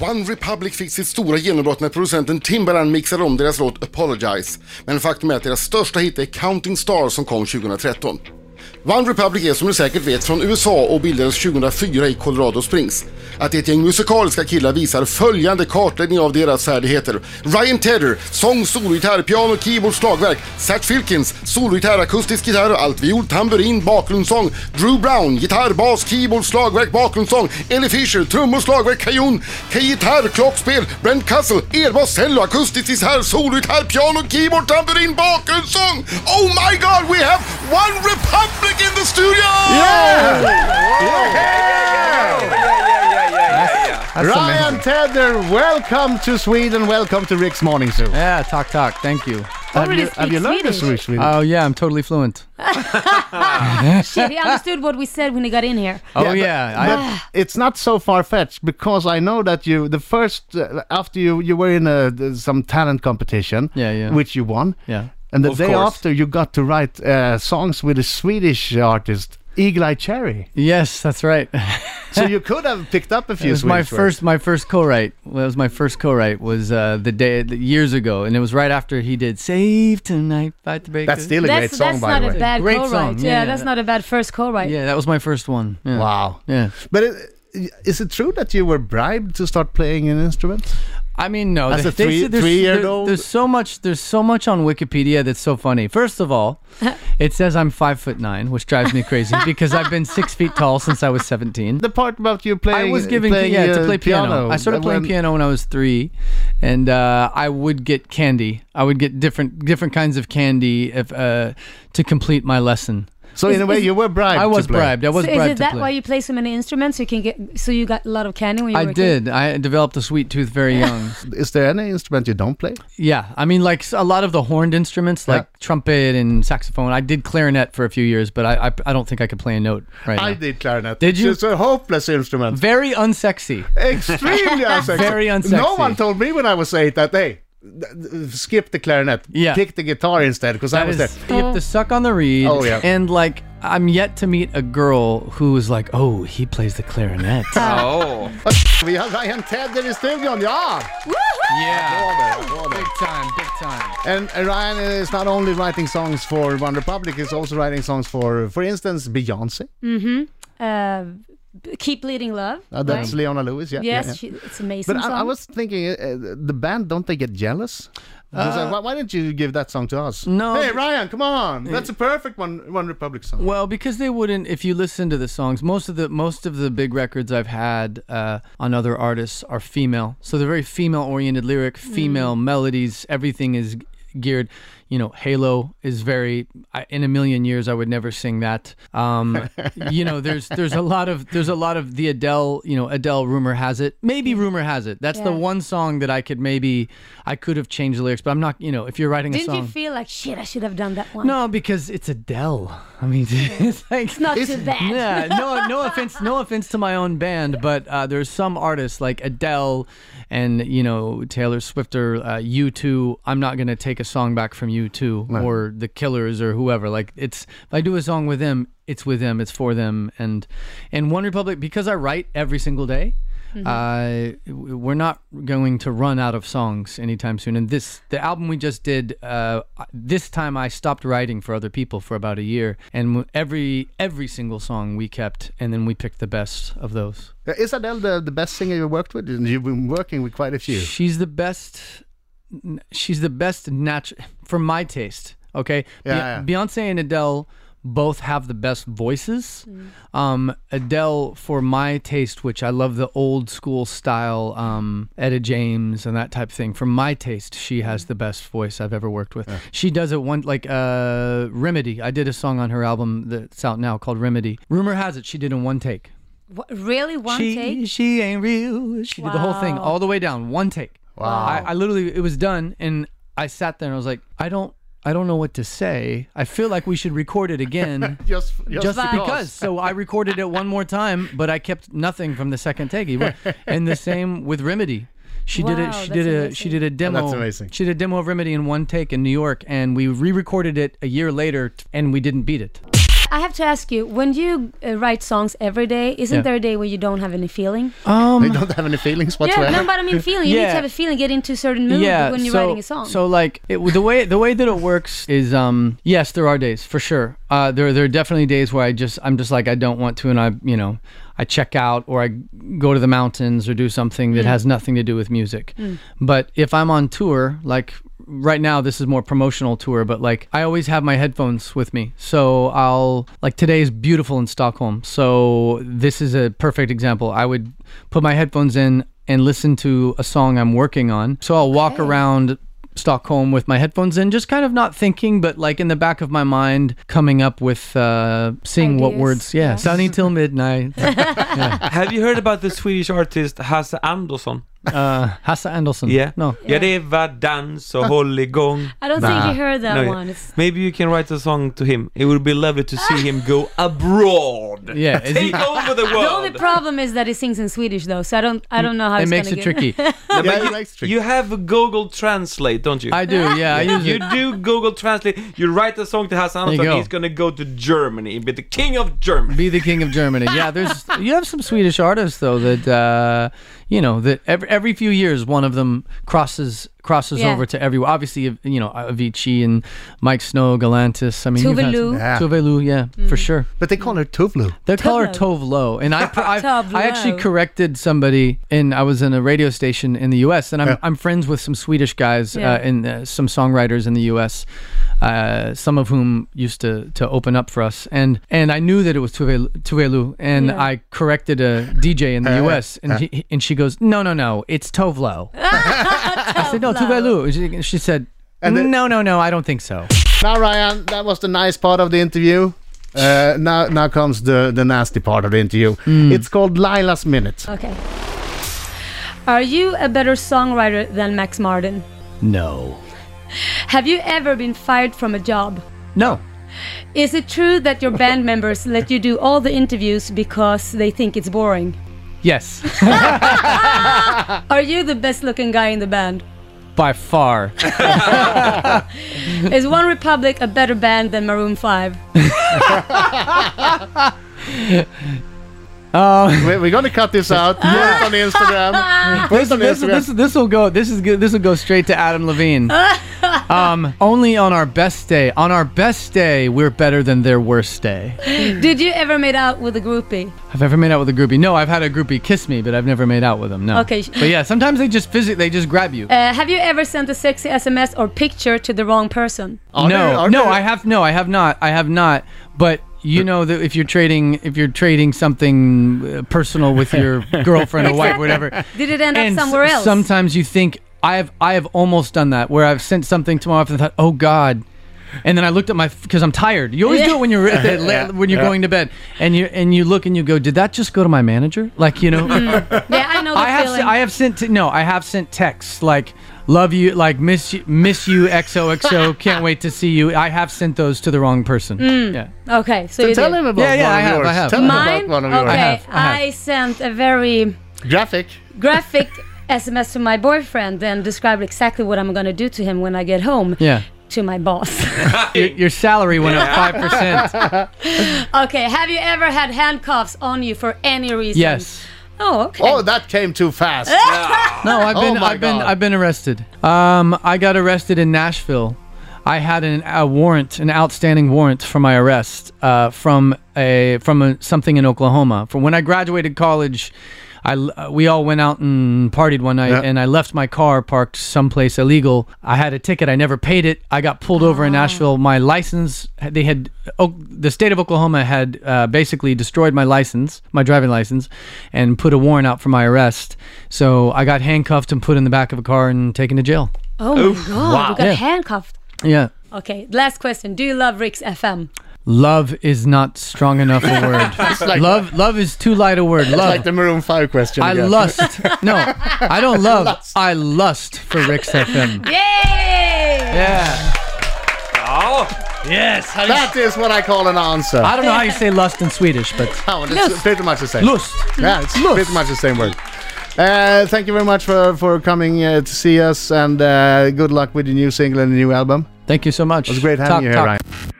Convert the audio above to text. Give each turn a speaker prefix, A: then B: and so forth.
A: One Republic fick sitt stora genombrott när producenten Timbaland mixade om deras låt Apologize. Men faktum är att deras största hit är Counting Stars som kom 2013. One Republic är som du säkert vet från USA och bildades 2004 i Colorado Springs. Att ett gäng musikaliska killar visar följande kartläggning av deras färdigheter. Ryan Tedder, sång, sologitarr, piano, keyboard, slagverk. Zach Filkins, sologitarr, akustisk gitarr, altviol, tamburin, bakgrundssång. Drew Brown, gitarr, bas, keyboard, slagverk, bakgrundssång. Ellie Fisher, trummor, slagverk, kajon, gitarr, klockspel. Brent Castle, elbas, cello, akustisk gitarr, sologitarr, piano, keyboard, tamburin, bakgrundssång. Oh my god, we have one republic in the studio!
B: That's
C: Ryan
B: amazing.
C: Tedder, welcome to Sweden, welcome to Rick's Morning Zoo.
B: Yeah, talk, talk. Thank you.
C: have
D: Already
C: you, have you
D: speak
C: learned this
D: Swedish.
C: Swedish?
B: Oh, yeah, I'm totally fluent.
D: Shit, he understood what we said when he got in here.
B: Oh,
C: but-
B: yeah. I-
C: but
D: Ah.
C: it's not so far fetched because I know that you the first uh, after you you were in a, th- some talent competition,
B: Yeah, yeah.
C: which you won,
B: yeah.
C: and the
E: Of
C: day
E: course.
C: after you got to write uh, songs with a Swedish artist, Eagle Eye Cherry.
B: Yes, that's right.
C: so you could have picked up a few.
B: It was my
C: Swedish words.
B: first, my first co-write. Well, it was my first co-write was uh, the day the, years ago, and it was right after he did "Save Tonight" by the Baker.
C: That's still a great
D: That's,
C: song,
D: that's
C: by
D: not
C: the
D: a
C: way.
D: bad
B: Great
D: co-write.
B: song,
D: Yeah,
B: yeah,
D: that's
B: yeah.
D: not a bad first co-write.
B: yeah, that was my first one. Yeah.
C: Wow.
B: Yeah.
C: But it, is it true that you were bribed to start playing an instrument?
B: I mean, no.
C: As
B: they-
C: a
B: they
C: three-
B: said there's-
C: three-year-old?
B: there- There's so much. There's so much on Wikipedia that's so funny. First of all, it says I'm five foot nine, which drives me crazy because I've been six feet tall since I was 17.
C: The part about you playing.
B: I was giving
C: playing,
B: yeah to
C: uh,
B: play piano. I started
C: uh,
B: playing
C: when-
B: piano when I was three, and uh, I would get candy. I would get different different kinds of candy if, uh, to complete my lesson.
C: So in
D: Is-
C: a way,
D: is-
C: you were bribed.
B: I was
C: to play.
B: bribed. I was
D: so
B: bribed
D: is it
B: to
D: that
B: play.
D: why you play so many instruments? So you can get so you got a lot of candy when you
B: I
D: were a kid?
B: did. I developed a sweet tooth very young.
C: Is there any instrument you don't play?
B: yeah, I mean, like s- a lot of the horned instruments, like trumpet and saxophone. I did clarinet for a few years, but I I, I don't think I could play a note right now.
C: did clarinet.
B: Did you?
C: It's a hopeless instrument.
B: Very unsexy.
C: Extremely unsexy.
B: Very
C: No
B: unsexy.
C: one told me when I was eight that hey, th- th- skip the clarinet,
B: Yeah.
C: pick the guitar instead because I
B: That
C: was
B: is
C: there.
B: skip the suck on the reed.
C: Oh, yeah.
B: And like, I'm yet to meet a girl who was like, oh, he plays the clarinet.
D: Uh,
E: Oh.
C: Vi har Ryan Tedder i studion, ja!
B: yeah. Big time, big time.
C: And Ryan is not only writing songs for One Republic, he's also writing songs for, for instance, Beyoncé.
D: Mm-hmm.
C: Oh.
D: Uh, keep leading love.
B: Ah,
C: Uh, that's
D: right?
C: Leona Lewis, yeah. yeah,
D: yes,
C: yeah.
D: She, it's amazing.
C: But
D: song.
C: I, I was thinking, uh, uh, the band, don't they get jealous? Because, uh, why, why didn't you give that song to us?
B: No.
C: Hey, Ryan, come on! That's a perfect One, one Republic song.
B: Well, because they wouldn't. If you listen to the songs, most of the most of the big records I've had uh, on other artists are female, so they're very female-oriented lyric,
D: Hmm.
B: female melodies. Everything is geared. You know, Halo is very. I, in a million years, I would never sing that. Um, you know, there's there's a lot of there's a lot of the Adele. You know, Adele. Rumor has it. Maybe rumor has it. That's the
D: Hmm. Yeah.
B: one song that I could maybe I could have changed the lyrics, but I'm not. You know, if you're writing a
D: Didn't
B: song.
D: you feel like shit? I should have done that one.
B: no, because it's Adele. I mean, it's like
D: it's not too bad.
B: yeah, no, no offense, no offense to my own band, but uh, there's some artists like Adele and you know Taylor Swift or uh, U2. I'm not gonna take a song back from U2 or the Killers or whoever. Like it's if I do a song with them, it's with them, it's for them, and and One Republic because I write every single day. Uh, w- we're not going to run out of songs anytime soon. And this, the album we just did, uh, this time I stopped writing for other people for about a year, and w- every every single song we kept, and then we picked the best of those.
C: Uh, Is Adele the, the best singer you worked with? And You've been working with quite a few.
B: She's the best. n- She's the best natural for my taste. Okay,
C: Yeah,
B: Be- Beyonce and Adele both have the best voices. Um, Adele, for my taste, which I love the old school style, um, Etta James and that type of thing. For my taste, she has the best voice I've ever worked with. She does it one like uh, Remedy. I did a song on her album that's out now called Remedy. Rumor has it she did in one take.
D: Wha- really, one
B: she,
D: take.
B: She ain't real. She did the whole thing
D: Wow.
B: all the way down, one take. Wow. I, I literally, it was done, and I sat there and I was like, I don't, I don't know what to say. I feel like we should record it again.
C: Just, just,
B: Just
D: because.
B: because. So I recorded it one more time, but I kept nothing from the second take. Even- And the same with Remedy. She did
D: Wow,
B: it. She
D: that's
B: did a.
D: amazing.
B: She did a demo.
C: Oh, That's amazing.
B: She did a demo of Remedy in one take in New York, and we re-recorded it a year later, t- and we didn't beat it.
D: I have to ask you: When you uh, write songs every day, isn't
B: Yeah.
D: there a day where you don't have any feeling?
C: they don't have any feelings whatsoever.
D: Yeah, no, but I mean feeling. You need
B: Yeah.
D: to have a feeling, get into a certain mood
B: yeah,
D: when you're
B: so,
D: writing a song.
B: So like it, the way the way that it works is um yes there are days for sure uh there there are definitely days where I just I'm just like I don't want to and I you know I check out or I go to the mountains or do something that has nothing to do with music. But if I'm on tour like right now this is more promotional tour but like I always have my headphones with me so I'll like today is beautiful in Stockholm so this is a perfect example I would put my headphones in and listen to a song I'm working on. So I'll walk around Stockholm with my headphones in, just kind of not thinking, but like in the back of my mind, coming up with uh, seeing what
D: Ideas,
B: words. Yeah,
D: yeah.
B: sunny till midnight.
E: Have you heard about the Swedish artist Hasse Andersson?
B: uh, Hasse Andersson.
E: Yeah.
B: No.
E: Järeva dans och håll igång.
D: I don't
C: Nah.
D: think you heard that
E: No,
D: one. It's,
E: Maybe you can write a song to him. It would be lovely to see him go abroad.
B: Yeah, is he-
E: Take over the
D: the only
E: world.
D: problem is that he sings in Swedish, though, so I don't, I don't know how
B: It
D: it's
B: makes
D: gonna
B: it
D: get-
B: tricky.
E: No, but
C: Yeah, he
E: you,
C: likes tricks.
E: you have Google Translate, don't you?
B: I do. Yeah, I use
E: you
B: it.
E: do Google Translate. You write a song to Hasse Andersson.
B: go.
E: He's gonna go to Germany and be the king of Germany.
B: Be the king of Germany. Yeah, there's you have some Swedish artists though that uh, you know that every, every few years one of them crosses crosses
D: Yeah.
B: over to everyone. Obviously, you know Avicii and Mike Snow, Galantis. I mean, you've had
D: Tuvalu. Mm.
B: some-
C: Yeah.
B: Tuvalu, yeah, for sure.
C: But they call her Tuvlu.
B: They call her Tovlo, and I pr- I, I actually
D: Tovlo.
B: corrected somebody, and I was in a radio station in the U.S. and I'm I'm friends with some Swedish guys
D: Yeah.
B: uh, and uh, some songwriters in the U.S. Uh, some of whom used to, to open up for us, and and I knew that it was Tuvelu, Tuvelu and
D: Yeah.
B: I corrected a DJ in
C: Uh,
B: the U.S. and she, and she goes, no, no, no, it's Tovlo. I said, no, Tuvelu. And She, she said,
C: And then-
B: no, no, no, I don't think so.
C: Now, Ryan, that was the nice part of the interview. Uh, now, now comes the, the nasty part of the interview.
B: Hmm.
C: It's called Lila's Minute.
D: Okay. Are you a better songwriter than Max Martin?
B: No,
D: Have you ever been fired from a job?
B: no.
D: Is it true that your band members let you do all the interviews because they think it's boring?
B: Yes,
D: Are you the best looking guy in the band?
B: by far.
D: Is One Republic a better band than Maroon 5?
B: Um,
C: We're, we're gonna cut this out. Put it on Instagram. Put it on
B: this, this,
C: Instagram.
B: this will go. This is good. This will go straight to Adam Levine. um, only on our best day. On our best day, we're better than their worst day.
D: Did you ever made out with a groupie?
B: I've ever made out with a groupie. No, I've had a groupie kiss me, but I've never made out with them. No.
D: Okay.
B: But yeah, sometimes they just physically they just grab you.
D: Uh, have you ever sent a sexy SMS or picture to the wrong person?
C: Are
B: no,
C: there- are
B: no,
C: there-
B: I have no, I have not, I have not. But you know that if you're trading, if you're trading something uh, personal with your girlfriend or wife, whatever,
D: Did it end up
B: and s-
D: somewhere else?
B: Sometimes you think I've I have almost done that where I've sent something to my wife and thought, oh God. And then I looked at my because I'm tired. You always do it when you're at the- when you're going to bed, and you and you look and you go, did that just go to my manager? Like you know,
D: yeah, I know the
B: I have
D: feeling.
B: se- I have sent t- no I have sent texts like love you like miss you miss you XOXO can't wait to see you. I have sent those to the wrong person.
D: Mm.
B: Yeah.
D: okay, so, you
C: Tell
D: did.
C: him about
B: Yeah, yeah,
C: one
B: I
C: of
B: have, I
C: yours.
B: have.
C: Tell him
D: Mine?
C: about one of
D: okay,
C: yours.
B: I have, I have.
D: I sent a very
C: Graphic.
D: graphic SMS to my boyfriend and described exactly what I'm gonna do to him when I get home.
B: Yeah.
D: To my boss.
B: Your, your salary went up five percent.
D: okay, have you ever had handcuffs on you for any reason?
B: Yes.
D: Oh, okay.
C: Oh, that came too fast.
B: No, I've been,
C: Oh my
B: I've been,
C: God.
B: I've been arrested. Um, I got arrested in Nashville. I had an, a warrant, an outstanding warrant for my arrest uh, from a from a, something in Oklahoma. From when I graduated college, I l- uh, we all went out and partied one night,
C: Yeah.
B: and I left my car parked someplace illegal. I had a ticket, I never paid it. I got pulled over in Nashville. My license, they had oh, the state of Oklahoma had uh, basically destroyed my license, my driving license, and put a warrant out for my arrest. So I got handcuffed and put in the back of a car and taken to jail.
D: oh my god,
E: wow.
D: you got
B: Yeah.
D: handcuffed.
B: Yeah.
D: Okay, last question. Do you love Rick's FM?
B: Love is not strong enough a word.
C: like-
B: love, love is too light a word. Love.
C: Like the Maroon 5 question.
B: I
C: again.
B: lust. No, I don't love. I lust for Rick's FM.
D: Yay!
B: Yeah.
E: Oh,
B: Yes.
C: That is what I call an answer.
B: I don't know how you say lust in Swedish, but
C: Oh, it's
D: Lust.
C: pretty much the same.
B: lust.
C: Yeah, it's pretty much the same word. Uh, thank you very much for, for coming uh, to see us, and uh, good luck with the new single and the new album.
B: Thank you so much. It
C: was great having you here, Ryan.